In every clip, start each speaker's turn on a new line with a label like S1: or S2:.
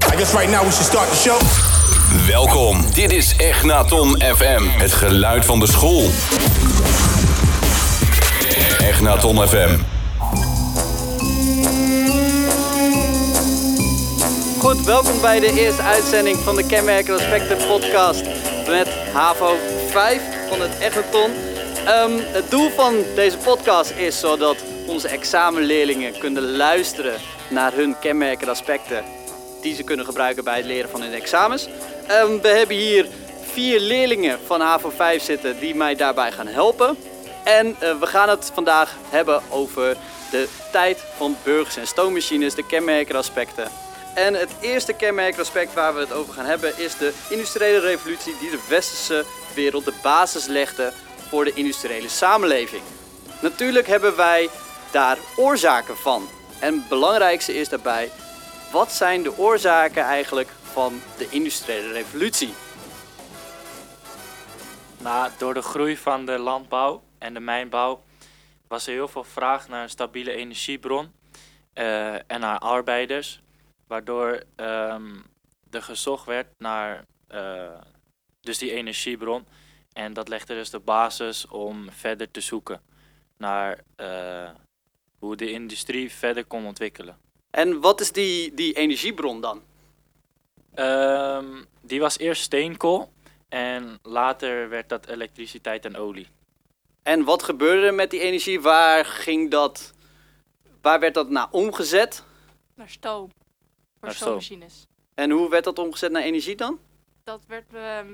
S1: guess right now we should start the show.
S2: Welkom, dit is Egnaton FM, het geluid van de school. Egnaton FM.
S3: Goed, welkom bij de eerste uitzending van de Kenmerkende Spectrum podcast met HAVO 5 van het Egerton. Ehm, het doel van deze podcast is zodat onze examenleerlingen kunnen luisteren naar hun kenmerkende aspecten die ze kunnen gebruiken bij het leren van hun examens. Ehm, we hebben hier vier leerlingen van HAVO 5 zitten die mij daarbij gaan helpen. En eh, we gaan het vandaag hebben over de tijd van burgers en stoommachines, de kenmerkende aspecten en het eerste kenmerkraspect waar we het over gaan hebben is de industriële revolutie die de westerse wereld de basis legde voor de industriële samenleving. Natuurlijk hebben wij daar oorzaken van. En het belangrijkste is daarbij, wat zijn de oorzaken eigenlijk van de industriële revolutie?
S4: Nou, door de groei van de landbouw en de mijnbouw was er heel veel vraag naar een stabiele energiebron eh, en naar arbeiders, waardoor ehm, er gezocht werd naar eh, dus die energiebron. En dat legde dus de basis om verder te zoeken naar eh, hoe de industrie verder kon ontwikkelen.
S3: En wat is die, die energiebron dan?
S4: Ehm, die was eerst steenkool en later werd dat elektriciteit en olie.
S3: En wat gebeurde er met die energie? Waar ging dat, waar werd dat naar omgezet?
S5: Naar stoom. Voor
S4: Naar stoom.
S5: stoommachines.
S3: En hoe werd dat omgezet naar energie dan?
S5: Dat werd, ehm,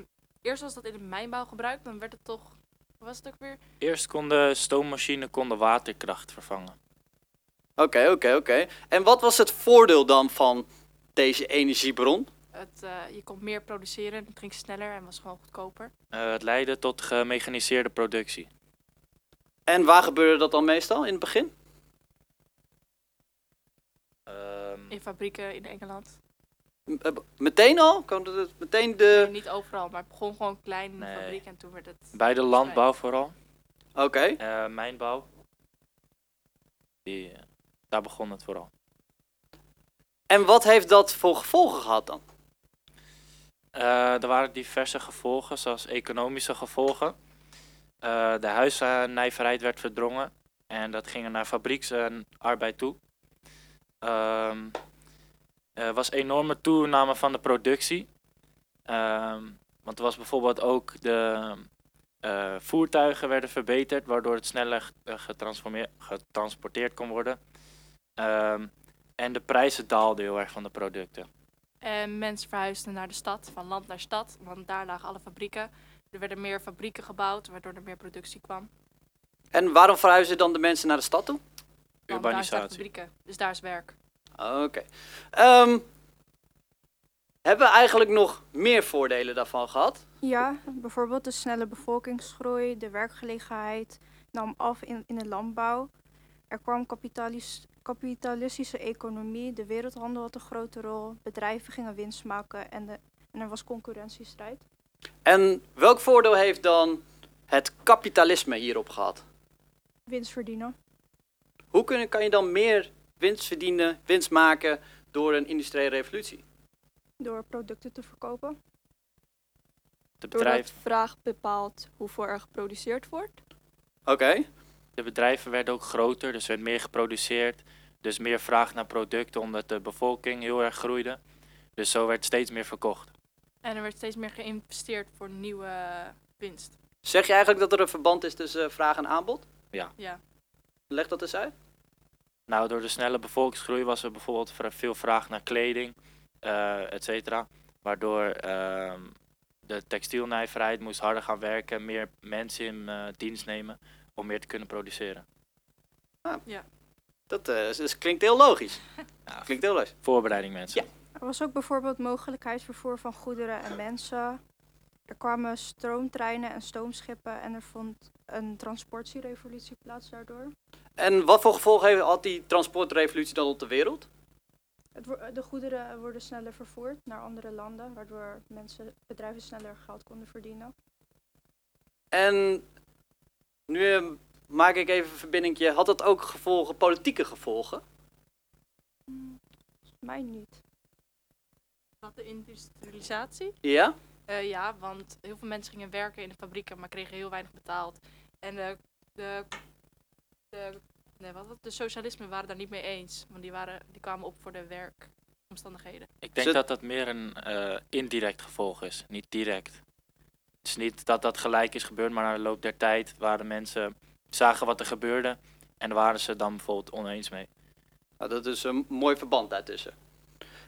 S5: eerst was dat in de mijnbouw gebruikt, dan werd het toch, hoe was het ook weer?
S4: Eerst kon de stoommachine kon de waterkracht vervangen.
S3: Oké, oké, oké. En wat was het voordeel dan van deze energiebron?
S5: Het, eh, je kon meer produceren, het ging sneller en was gewoon goedkoper.
S4: Eh, het leidde tot gemechaniseerde productie.
S3: En waar gebeurde dat dan meestal in het begin?
S4: Ehm,
S5: In fabrieken in Engeland.
S3: M- eh, Meteen al? Kan dat het meteen de...
S5: Niet overal, maar het begon gewoon klein in de
S4: Nee.
S5: fabriek en toen werd het...
S4: bij de landbouw vooral,
S3: Oké.
S4: Eh, mijnbouw. Die, eh, daar begon het vooral.
S3: En wat heeft dat voor gevolgen gehad dan?
S4: Eh, er waren diverse gevolgen, zoals economische gevolgen. Eh, de huisnijverheid werd verdrongen en dat ging naar fabrieks- en arbeid toe. Ehm, er was enorme toename van de productie. Ehm, want er was bijvoorbeeld ook de eh, voertuigen werden verbeterd, waardoor het sneller g- eh, getransformeer- getransporteerd kon worden. Ehm, en de prijzen daalden heel erg van de producten.
S5: En eh, mensen verhuisden naar de stad, van land naar stad, want daar lagen alle fabrieken. Er werden meer fabrieken gebouwd, waardoor er meer productie kwam.
S3: En waarom verhuizen dan de mensen naar de stad toe?
S5: Want daar staan
S4: Urbanisatie.
S5: fabrieken, dus daar is werk.
S3: Oké. Ehm, hebben we eigenlijk nog meer voordelen daarvan gehad?
S6: Ja, bijvoorbeeld de snelle bevolkingsgroei, de werkgelegenheid nam af in, in de landbouw. Er kwam kapitalis- kapitalistische economie, de wereldhandel had een grote rol, bedrijven gingen winst maken en, de, en er was concurrentiestrijd.
S3: En welk voordeel heeft dan het kapitalisme hierop gehad?
S6: Winst verdienen.
S3: Hoe kun- kan je dan meer winst verdienen, winst maken door een industriële revolutie?
S6: Door producten te verkopen.
S4: De bedrijf,
S7: Doordat vraag bepaalt hoeveel er geproduceerd wordt.
S3: Oké.
S4: De bedrijven werden ook groter, dus er werd meer geproduceerd. Dus meer vraag naar producten, omdat de bevolking heel erg groeide. Dus zo werd steeds meer verkocht.
S5: En er werd steeds meer geïnvesteerd voor nieuwe winst.
S3: Zeg je eigenlijk dat er een verband is tussen eh, vraag en aanbod?
S5: Ja.
S3: Leg dat eens uit.
S4: Nou, door de snelle bevolkingsgroei was er bijvoorbeeld vra- veel vraag naar kleding, eh et cetera. Waardoor ehm, de textielnijverheid moest harder gaan werken, meer mensen in eh, dienst nemen om meer te kunnen produceren.
S3: Dat eh, is- is- klinkt heel logisch.
S4: Ja.
S3: Klinkt heel logisch.
S4: Voorbereiding mensen.
S6: Er was ook bijvoorbeeld mogelijkheidsvervoer van goederen en mensen. Er kwamen stroomtreinen en stoomschippen en er vond een transportierevolutie plaats daardoor.
S3: En wat voor gevolgen heeft- had die transportrevolutie dan op de wereld?
S6: Het wo- de goederen worden sneller vervoerd naar andere landen, waardoor mensen, bedrijven sneller geld konden verdienen.
S3: En nu eh, maak ik even een verbindingje. Had dat ook gevolgen, politieke gevolgen?
S6: Mij niet.
S5: dat de industrialisatie.
S3: Ja?
S5: Eh, ja, want heel veel mensen gingen werken in de fabrieken, maar kregen heel weinig betaald. En de, de, de, nee, wat, was het? de socialisten waren daar niet mee eens, want die, waren, die kwamen op voor de werkomstandigheden.
S4: Ik denk
S3: Zit-
S4: dat dat meer een eh, indirect gevolg is, niet direct. Het is niet dat dat gelijk is gebeurd, maar na de loop der tijd waren mensen, zagen wat er gebeurde en daar waren ze dan bijvoorbeeld oneens mee.
S3: Nou, dat is een mooi verband daartussen.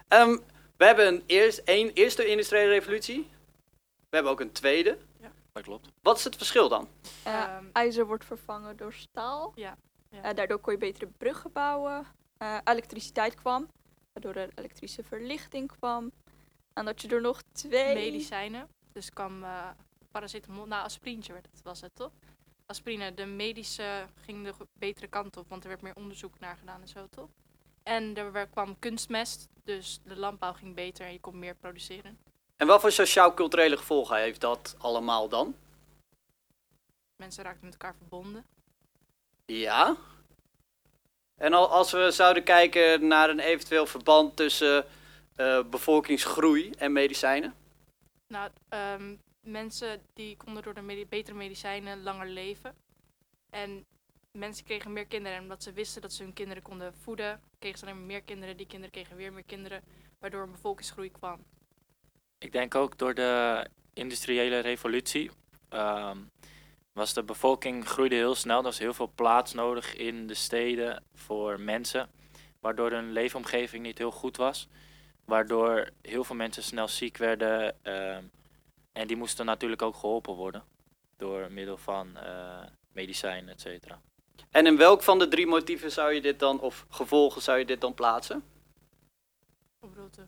S3: Ehm, we hebben een, eerst, een eerste industriële revolutie. We hebben ook een tweede.
S4: Dat klopt.
S3: Wat is het verschil dan?
S7: Eh,
S5: Ehm,
S7: IJzer wordt vervangen door staal.
S5: Ja, ja.
S7: Eh, daardoor kon je betere bruggen bouwen. Eh, elektriciteit kwam, waardoor er elektrische verlichting kwam. En dat je er nog twee...
S5: medicijnen, dus kwam eh, paracetamol, nou aspirintje werd het, was het toch? Aspirine, de medische ging de go- betere kant op, want er werd meer onderzoek naar gedaan en zo toch? En er werd- kwam kunstmest, dus de landbouw ging beter en je kon meer produceren.
S3: En wat voor sociaal-culturele gevolgen heeft dat allemaal dan?
S5: mensen raakten met elkaar verbonden.
S3: Ja. En al, als we zouden kijken naar een eventueel verband tussen eh, bevolkingsgroei en medicijnen.
S5: Nou, ehm, mensen die konden door de medi- betere medicijnen langer leven. En mensen kregen meer kinderen. En omdat ze wisten dat ze hun kinderen konden voeden, kregen ze alleen maar meer kinderen. Die kinderen kregen weer meer kinderen, waardoor een bevolkingsgroei kwam.
S4: Ik denk ook door de industriële revolutie ehm, was de bevolking groeide heel snel. Er was heel veel plaats nodig in de steden voor mensen, waardoor hun leefomgeving niet heel goed was. Waardoor heel veel mensen snel ziek werden ehm, en die moesten natuurlijk ook geholpen worden door middel van eh medicijnen, et cetera.
S3: En in welk van de drie motieven zou je dit dan, of gevolgen zou je dit dan plaatsen?
S5: Op route.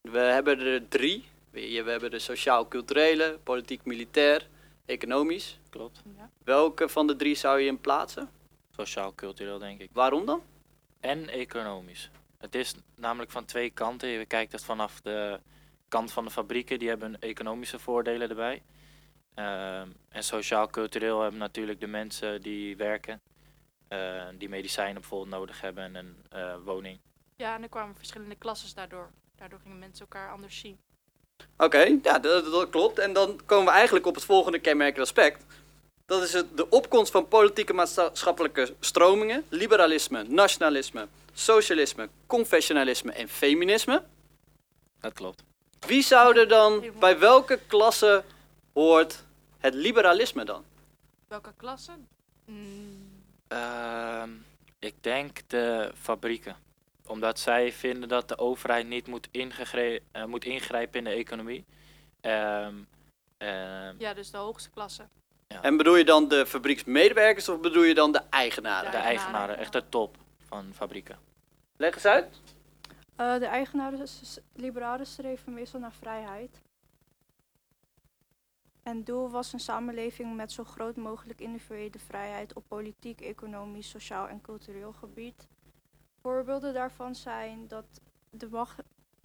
S3: We hebben er drie. We, we hebben de sociaal-culturele, politiek-militair, economisch.
S4: Klopt.
S5: Ja.
S3: Welke van de drie zou je in plaatsen?
S4: Sociaal-cultureel denk ik.
S3: Waarom dan?
S4: en economisch. Het is namelijk van twee kanten. Je kijkt het vanaf de kant van de fabrieken, die hebben economische voordelen erbij. Ehm, en sociaal-cultureel hebben natuurlijk de mensen die werken, eh, die medicijnen bijvoorbeeld nodig hebben en een eh, woning.
S5: ja, en er kwamen verschillende klasses daardoor. Daardoor gingen mensen elkaar anders zien.
S3: Oké, ja, dat, dat klopt. En dan komen we eigenlijk op het volgende kenmerkend aspect. Dat is het, de opkomst van politieke maatschappelijke stromingen, liberalisme, nationalisme, socialisme, confessionalisme en feminisme.
S4: Dat klopt.
S3: Wie zou er dan, bij welke klasse hoort het liberalisme dan?
S5: Welke klasse? Mm,
S4: Ehm, ik denk de fabrieken. Omdat zij vinden dat de overheid niet moet, ingegre- eh, moet ingrijpen in de economie. Ehm, ehm,
S5: ja, dus de hoogste klasse.
S3: En bedoel je dan de fabrieksmedewerkers of bedoel je dan de eigenaren?
S4: de
S5: Ja.
S4: eigenaren, echt de top van fabrieken.
S3: Leg eens uit.
S6: Eh, de eigenaren, s- liberalen streven meestal naar vrijheid. En doel was een samenleving met zo groot mogelijk individuele vrijheid op politiek, economisch, sociaal en cultureel gebied. Voorbeelden daarvan zijn dat, de wacht-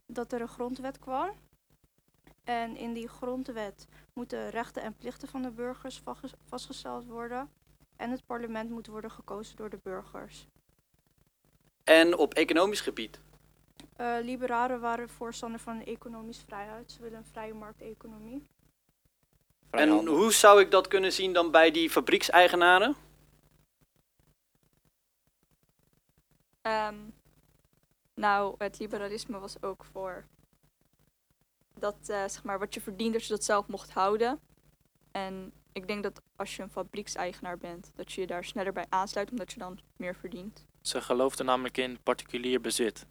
S6: dat er een grondwet kwam. En in die grondwet moeten rechten en plichten van de burgers vastges- vastgesteld worden. En het parlement moet worden gekozen door de burgers.
S3: En op economisch gebied.
S6: Eh, liberalen waren voorstander van een economisch vrijheid. Ze willen een vrije markteconomie.
S3: en hoe zou ik dat kunnen zien dan bij die fabriekseigenaren?
S7: Ehm, nou, het liberalisme was ook voor dat eh, zeg maar, wat je verdient, dat je dat zelf mocht houden. En ik denk dat als je een fabriekseigenaar bent, dat je je daar sneller bij aansluit, omdat je dan meer verdient.
S4: Ze geloofden namelijk in particulier bezit.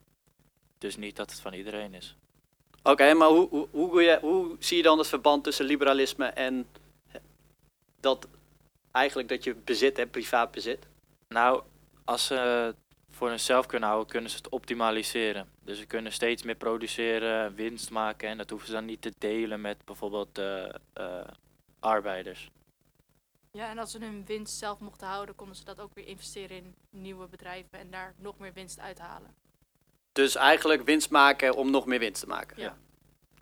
S4: Dus niet dat het van iedereen is.
S3: Oké, maar hoe, hoe, hoe, wil je- hoe zie je dan het verband tussen liberalisme en dat eigenlijk dat je bezit hebt, privaat bezit?
S4: Nou, als ze het voor hunzelf kunnen houden, kunnen ze het optimaliseren. Dus ze kunnen steeds meer produceren, winst maken. En dat hoeven ze dan niet te delen met bijvoorbeeld eh, eh, arbeiders.
S5: Ja, en als ze hun winst zelf mochten houden, konden ze dat ook weer investeren in nieuwe bedrijven en daar nog meer winst uithalen.
S3: Dus eigenlijk winst maken om nog meer winst te maken.
S5: Ja.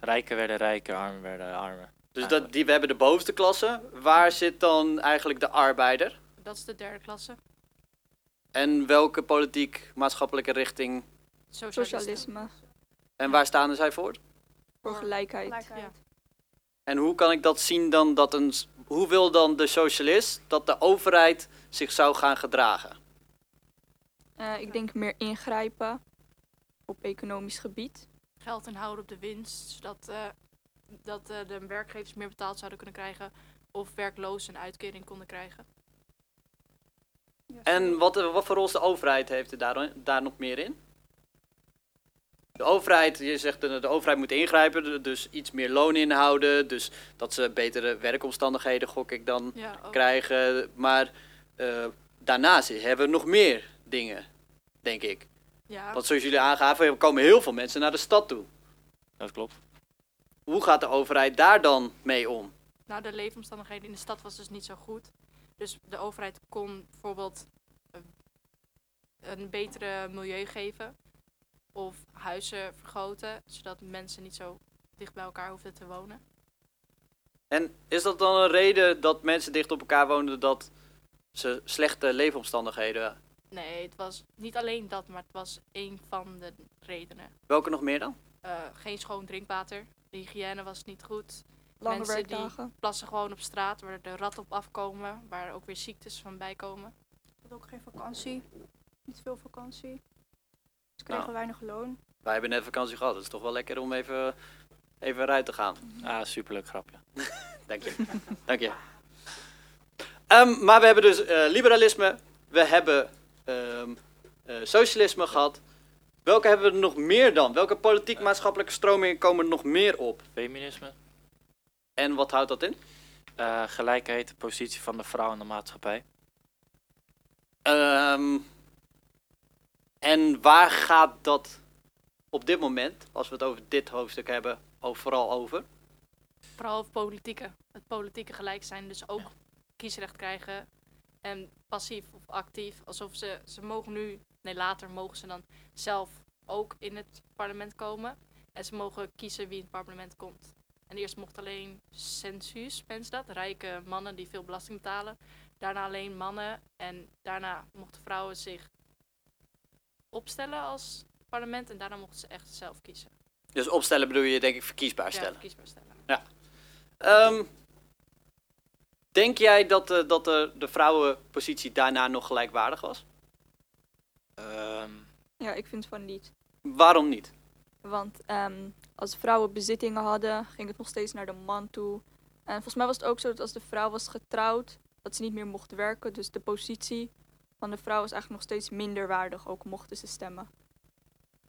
S4: Rijken werden rijker, armen werden armer.
S3: Dus dat, die, we hebben de bovenste klasse. Waar zit dan eigenlijk de arbeider?
S5: Dat is de derde klasse.
S3: En welke politiek-maatschappelijke richting?
S5: Socialisme.
S7: Socialisme.
S3: En waar staan zij voor?
S7: Voor gelijkheid.
S6: Gelijkheid.
S3: En hoe kan ik dat zien dan dat een. s- Hoe wil dan de socialist dat de overheid zich zou gaan gedragen?
S7: Eh, ik denk meer ingrijpen op economisch gebied.
S5: Geld inhouden op de winst, zodat eh, dat, eh, de werkgevers meer betaald zouden kunnen krijgen. Of werklozen een uitkering konden krijgen.
S6: Ja,
S3: En wat, eh, wat voor rol is de overheid heeft er daar, daar nog meer in? De overheid, je zegt de, de overheid moet ingrijpen, de- dus iets meer loon inhouden. Dus dat ze betere werkomstandigheden, gok ik dan,
S5: Ja, ook.
S3: krijgen. Maar eh, daarnaast hebben we nog meer dingen, denk ik.
S5: ja.
S3: Want zoals jullie aangaven, er komen heel veel mensen naar de stad toe.
S4: Dat klopt.
S3: Hoe gaat de overheid daar dan mee om?
S5: Nou, de leefomstandigheden in de stad was dus niet zo goed. Dus de overheid kon bijvoorbeeld eh, een betere milieu geven. Of huizen vergroten, zodat mensen niet zo dicht bij elkaar hoefden te wonen.
S3: En is dat dan een reden dat mensen dicht op elkaar woonden dat ze slechte leefomstandigheden?
S5: Nee, het was niet alleen dat, maar het was één van de redenen.
S3: Welke nog meer dan?
S5: Eh, geen schoon drinkwater, de hygiëne was niet goed.
S7: Lange
S5: Mensen die-
S7: werkdagen.
S5: Plassen gewoon op straat, waar de ratten op afkomen, waar ook weer ziektes van bijkomen.
S6: we hadden ook geen vakantie. Niet veel vakantie. Dus we
S3: Nou.
S6: kregen weinig loon.
S3: Wij hebben net vakantie gehad. Het is toch wel lekker om even, even eruit te gaan.
S4: Ah, superleuk grapje.
S3: Dank je. Dank je. Ehm, maar we hebben dus eh, liberalisme. We hebben ehm, eh, socialisme gehad. Welke hebben we er nog meer dan? Welke politiek-maatschappelijke stromingen komen er nog meer op?
S4: Feminisme,
S3: En wat houdt dat in?
S4: eh, gelijkheid, de positie van de vrouw in de maatschappij.
S3: Ehm, en waar gaat dat op dit moment, als we het over dit hoofdstuk hebben, ook vooral over?
S5: Vooral het politieke. Het politieke gelijk zijn, dus ook kiesrecht krijgen. En passief of actief, alsof ze, ze mogen nu, nee later mogen ze dan zelf ook in het parlement komen. En ze mogen kiezen wie in het parlement komt. En eerst mocht alleen census, mensen dat, rijke mannen die veel belasting betalen. Daarna alleen mannen en daarna mochten vrouwen zich opstellen als parlement. En daarna mochten ze echt zelf kiezen.
S3: Dus opstellen bedoel je denk ik verkiesbaar
S5: Ja,
S3: stellen.
S5: kiesbaar stellen.
S3: Ehm, denk jij dat, eh, dat de, de vrouwenpositie daarna nog gelijkwaardig was?
S4: Ehm,
S7: Ja, ik vind van niet.
S3: Waarom niet?
S7: Want ehm, als vrouwen bezittingen hadden, ging het nog steeds naar de man toe. En volgens mij was het ook zo dat als de vrouw was getrouwd, dat ze niet meer mocht werken. Dus de positie van de vrouw was eigenlijk nog steeds minder waardig, ook mochten ze stemmen.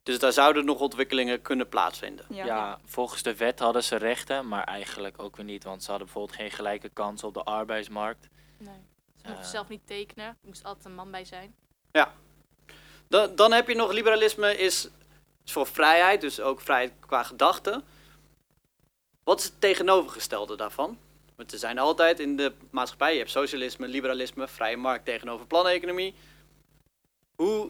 S3: Dus daar zouden nog ontwikkelingen kunnen plaatsvinden.
S7: Ja.
S4: ja. volgens de wet hadden ze rechten, maar eigenlijk ook weer niet. Want ze hadden bijvoorbeeld geen gelijke kans op de arbeidsmarkt.
S5: Nee. Ze mochten
S4: Eh.
S5: zelf niet tekenen. Er moest altijd een man bij zijn.
S3: Dan, dan heb je nog liberalisme is, is voor vrijheid, dus ook vrijheid qua gedachten. Wat is het tegenovergestelde daarvan? Want er zijn altijd in de maatschappij, je hebt socialisme, liberalisme, vrije markt tegenover planeconomie. Hoe,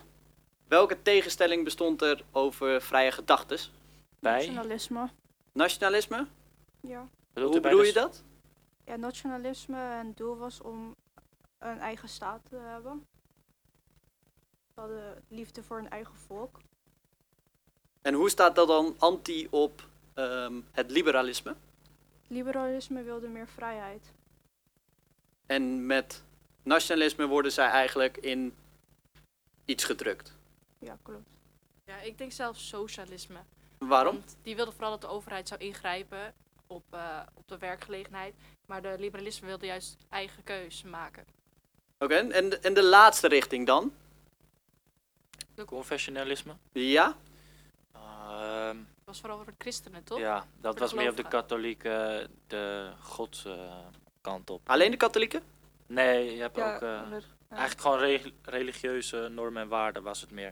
S3: welke tegenstelling bestond er over vrije gedachten?
S4: Bij,
S6: Nationalisme.
S3: Nationalisme?
S6: Ja.
S4: bedoelt u
S3: Hoe
S4: bij
S3: bedoel
S4: de
S3: je dat?
S6: ja, nationalisme en het doel was om een eigen staat te hebben. We hadden liefde voor een eigen volk.
S3: En hoe staat dat dan anti op ehm, het liberalisme?
S6: Liberalisme wilde meer vrijheid.
S3: En met nationalisme worden zij eigenlijk in iets gedrukt.
S6: Ja, klopt.
S5: Ja, ik denk zelfs socialisme.
S3: Waarom?
S5: Want die wilde vooral dat de overheid zou ingrijpen op, eh, op de werkgelegenheid. Maar de liberalisme wilde juist eigen keus maken.
S3: Oké, en, de- en de laatste richting dan?
S4: confessionalisme?
S3: Ja?
S4: Ehm,
S5: Het was vooral voor de christenen, toch?
S4: ja, dat
S5: de
S4: was meer op de
S5: gelovigen.
S4: katholieke, de gods eh, kant op.
S3: Alleen de katholieken?
S4: Nee, je hebt
S7: Ja,
S4: ook... eh,
S7: onder- ja.
S4: Eigenlijk gewoon re- religieuze normen en waarden was het meer.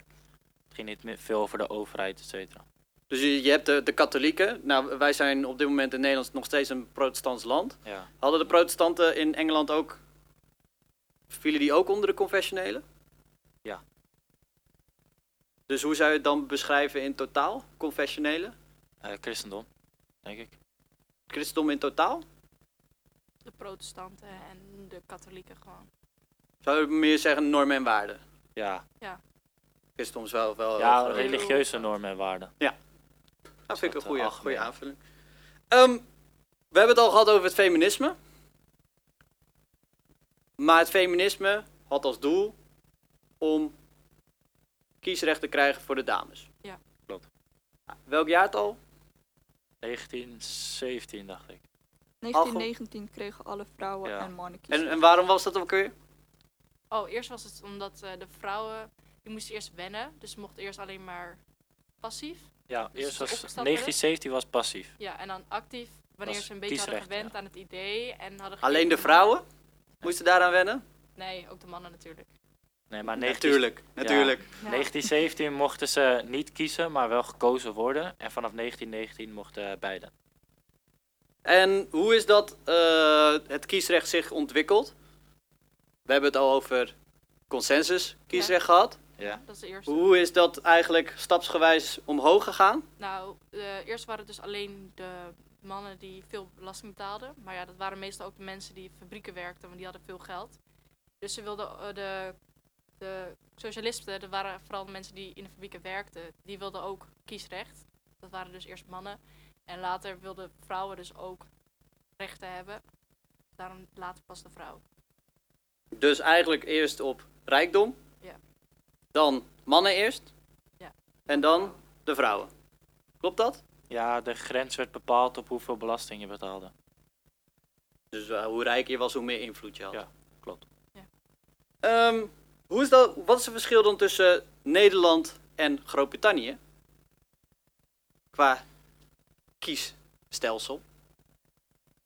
S4: Het ging niet meer veel over de overheid, et cetera.
S3: Dus je, je hebt de, de katholieken. Nou, wij zijn op dit moment in Nederland nog steeds een protestants land.
S4: Ja.
S3: Hadden de protestanten in Engeland ook... Vielen die ook onder de confessionelen?
S4: Ja.
S3: Dus hoe zou je het dan beschrijven in totaal? Confessionelen?
S4: Eh, christendom, denk ik.
S3: Christendom in totaal?
S5: De protestanten en de katholieken gewoon.
S3: Zou je meer zeggen normen en waarden?
S4: Ja,
S3: Christendom is wel... wel
S4: ja
S3: wel-
S4: religieuze normen en waarden.
S3: Dat vind ik
S4: dat,
S3: een
S4: eh,
S3: goede,
S4: algemeen.
S3: goede aanvulling. Ehm, we hebben het al gehad over het feminisme. Maar het feminisme had als doel om kiesrecht te krijgen voor de dames.
S5: Ja.
S4: Klopt.
S3: Welk jaartal?
S4: 1917 dacht ik.
S7: 1919 kregen alle vrouwen
S4: Ja.
S7: en mannen kiezen.
S3: En, en waarom was dat ook weer?
S5: Oh, eerst was het omdat eh, de vrouwen, die moesten eerst wennen. Dus ze mochten eerst alleen maar passief.
S4: Ja,
S5: Dus
S4: eerst
S5: ze
S4: was
S5: opgestapt
S4: 1917 was passief.
S5: Ja, en dan actief, wanneer
S4: Was
S5: ze een beetje hadden
S4: kiesrecht,
S5: gewend aan het idee. En hadden
S3: Alleen de
S5: gekeken-
S3: vrouwen? Moesten daaraan wennen?
S5: Nee, ook de mannen natuurlijk.
S4: Nee, maar 19,
S3: Natuurlijk, natuurlijk.
S5: Ja.
S4: 1917 mochten ze niet kiezen, maar wel gekozen worden. En vanaf 1919 mochten beide.
S3: En hoe is dat eh, het kiesrecht zich ontwikkeld? We hebben het al over consensus kiesrecht gehad.
S4: Ja.
S5: Dat is de eerste.
S3: Hoe is dat eigenlijk stapsgewijs omhoog gegaan?
S5: Nou, eh, eerst waren het dus alleen de mannen die veel belasting betaalden. Maar ja, dat waren meestal ook de mensen die in fabrieken werkten, want die hadden veel geld. Dus ze wilden eh, de, de socialisten, dat waren vooral de mensen die in de fabrieken werkten, die wilden ook kiesrecht. Dat waren dus eerst mannen. En later wilden vrouwen dus ook rechten hebben. Daarom later pas de vrouw.
S3: Dus eigenlijk eerst op rijkdom,
S5: Ja.
S3: dan mannen eerst
S5: Ja.
S3: en dan de vrouwen. Klopt dat?
S4: ja, de grens werd bepaald op hoeveel belasting je betaalde.
S3: Dus eh, hoe rijker je was, hoe meer invloed je had.
S4: Ja, klopt.
S5: Ja.
S3: Ehm, hoe is dat, wat is het verschil dan tussen Nederland en Groot-Brittannië? Qua kiesstelsel.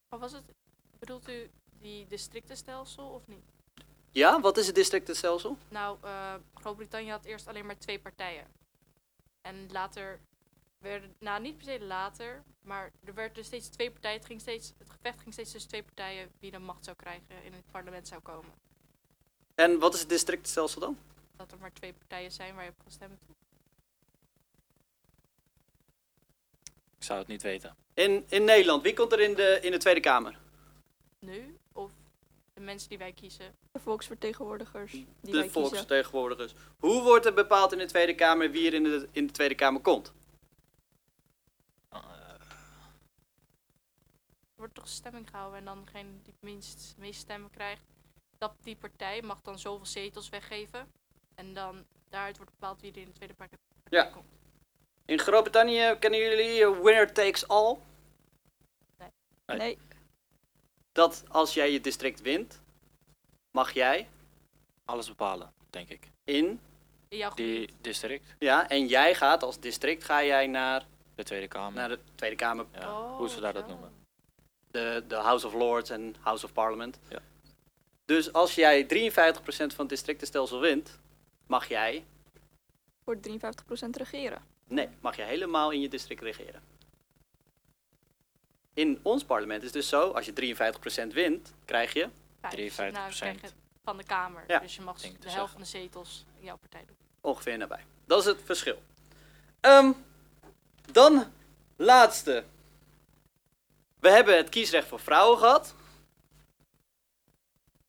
S5: Of was het, bedoelt u die districtenstelsel of niet?
S3: Ja, wat is het districtenstelsel?
S5: Nou, eh, Groot-Brittannië had eerst alleen maar twee partijen. En later werden, nou niet per se later, maar er werd dus steeds twee partijen. Het, ging steeds, het gevecht ging steeds tussen twee partijen wie de macht zou krijgen in het parlement zou komen.
S3: En wat is het districtenstelsel dan?
S5: Dat er maar twee partijen zijn waar je op gestemd hebt.
S4: Ik zou het niet weten.
S3: In, in Nederland, wie komt er in de, in de Tweede Kamer?
S5: Nu, of de mensen die wij kiezen.
S7: De volksvertegenwoordigers die wij
S3: de
S7: kiezen.
S3: volksvertegenwoordigers. Hoe wordt er bepaald in de Tweede Kamer wie er in de, in de Tweede Kamer komt?
S5: Er wordt toch stemming gehouden en dan degene die het minst, meest stemmen krijgt. Dat die partij mag dan zoveel zetels weggeven. En dan daaruit wordt bepaald wie er in de tweede partij
S3: Ja.
S5: komt.
S3: In Groot-Brittannië kennen jullie eh, winner takes all.
S7: Nee,
S3: Dat als jij je district wint, mag jij
S4: Alles bepalen, denk ik.
S3: in.
S5: In jouw gebied.
S4: Die district,
S3: Ja, en jij gaat als district ga jij naar,
S4: de Tweede Kamer.
S3: naar de Tweede Kamer,
S4: Hmm. Ja,
S5: Oh,
S4: hoe ze daar dat
S5: zo.
S4: noemen.
S3: de, de House of Lords en House of Parliament.
S4: Ja.
S3: Dus als jij 53% van het districtenstelsel wint, mag jij,
S7: voor 53% regeren.
S3: nee, mag jij helemaal in je district regeren. In ons parlement is het dus zo, als je 53% wint, krijg je
S5: Vijf.
S4: 53%.
S5: Nou, krijg je van de Kamer.
S3: Ja,
S5: dus je mag de
S4: denk ik
S5: helft
S4: te
S5: van de zetels in jouw partij doen.
S3: ongeveer nabij. Dat is het verschil. Ehm, dan laatste. We hebben het kiesrecht voor vrouwen gehad.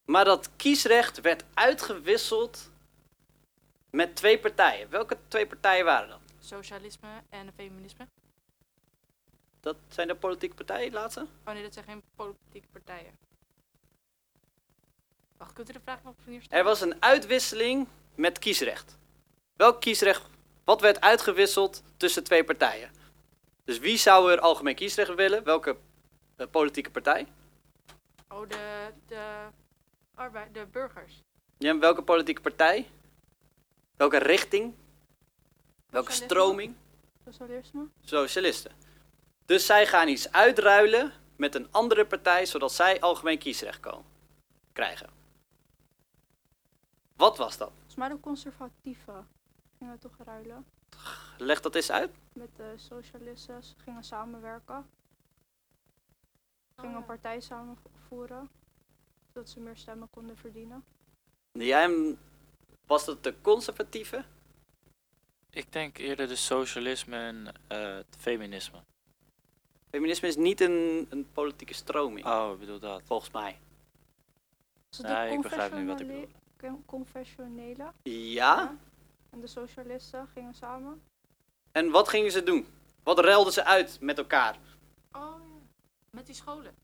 S3: Maar dat kiesrecht werd uitgewisseld met twee partijen. Welke twee partijen waren dat?
S5: Socialisme en feminisme.
S3: Dat zijn de politieke partijen, laatste?
S5: Oh nee, dat zijn geen politieke partijen. Wacht, kunt u de vraag nog opnieuw stellen?
S3: Er was een uitwisseling met kiesrecht. Welk kiesrecht, wat werd uitgewisseld tussen twee partijen? Dus wie zou er algemeen kiesrecht willen? Welke eh, politieke partij?
S5: Oh, de, de, arbeid, de burgers.
S3: Ja, en welke politieke partij? Welke richting? Welke
S6: Socialisme.
S3: stroming?
S6: Socialisme?
S3: Socialisten. Dus zij gaan iets uitruilen met een andere partij, zodat zij algemeen kiesrecht komen, krijgen. Wat was dat?
S6: Volgens mij de conservatieven gingen toch ruilen.
S3: Leg dat eens uit.
S6: Met de socialisten, ze gingen samenwerken. Ze gingen
S5: Oh,
S6: een
S5: ja.
S6: partij samenvoeren. Zodat ze meer stemmen konden verdienen.
S3: Jij, hem- was dat de conservatieve?
S4: Ik denk eerder de socialisme en eh, het feminisme.
S3: Feminisme is niet een, een politieke stroming,
S4: Oh, ik bedoel dat.
S3: volgens mij.
S6: Dus
S4: Nee, ik begrijp nu wat ik bedoel.
S6: Confessionele
S3: Ja?
S6: en de socialisten gingen samen.
S3: En wat gingen ze doen? Wat ruilden ze uit met elkaar?
S5: Oh ja, met die scholen.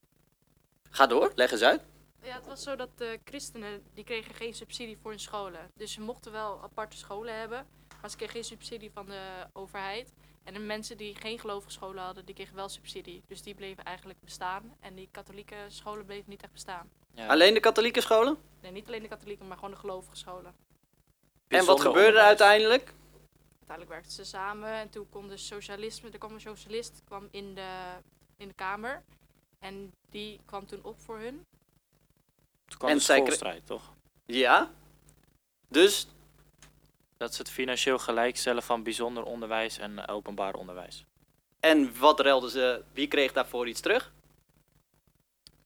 S3: Ga door, leg eens uit.
S5: Ja, het was zo dat de christenen, die kregen geen subsidie voor hun scholen. Dus ze mochten wel aparte scholen hebben, maar ze kregen geen subsidie van de overheid. En de mensen die geen gelovige scholen hadden, die kregen wel subsidie. Dus die bleven eigenlijk bestaan. En die katholieke scholen bleven niet echt bestaan.
S4: Ja.
S3: Alleen de katholieke scholen?
S5: Nee, niet alleen de katholieken, maar gewoon de gelovige scholen.
S3: En wat
S4: Bijzonder
S3: gebeurde er
S4: onderwijs.
S3: uiteindelijk?
S5: Uiteindelijk werkten ze samen en toen kwam de socialisme, er kwam een socialist kwam in, de, in de kamer. En die kwam toen op voor hun.
S4: Toen kwam
S3: En
S4: de
S3: zij kre-
S4: schoolstrijd, toch?
S3: Ja. Dus,
S4: Dat ze het financieel gelijk stellen van bijzonder onderwijs en eh, openbaar onderwijs.
S3: en wat ruilden ze? Wie kreeg daarvoor iets terug?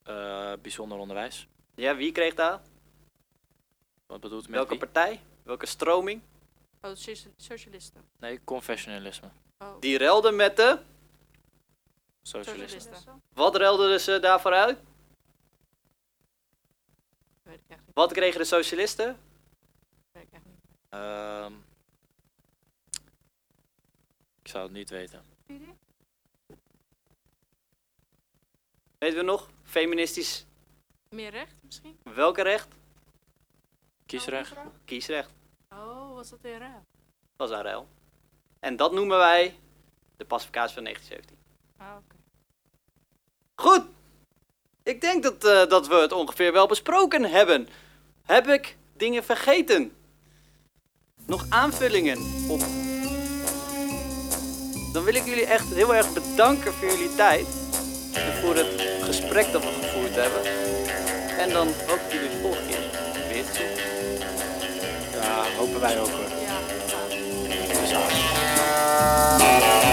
S4: Eh, bijzonder onderwijs.
S3: Ja, wie kreeg daar?
S4: Wat bedoelt met
S3: Welke
S4: wie?
S3: partij? Welke stroming?
S5: Oh, de socia- socialisten.
S4: Nee, confessionalisme.
S5: Oh,
S3: Die ruilden met de...
S4: Socialisme.
S5: socialisten.
S3: Wat ruilden ze daarvoor uit?
S5: Weet ik echt niet.
S3: Wat kregen de socialisten?
S5: Weet ik echt niet.
S4: Ehm, ik zou het niet weten.
S3: Weten we nog? Feministisch.
S5: Meer recht misschien?
S3: Welke recht?
S4: Kiesrecht.
S3: Kiesrecht.
S5: Oh, was dat weer raar?
S3: Dat is een ruil. En dat noemen wij de pacificatie van 1917.
S5: Ah, oké.
S3: Goed. Ik denk dat, eh, dat we het ongeveer wel besproken hebben. Heb ik dingen vergeten? Nog aanvullingen op? Dan wil ik jullie echt heel erg bedanken voor jullie tijd. En voor het gesprek dat we gevoerd hebben. En dan hoop ik jullie de volgende keer weer te zien.
S4: Ja, hopen wij ook hoor.
S5: Ja, ja.
S4: Dus, ah.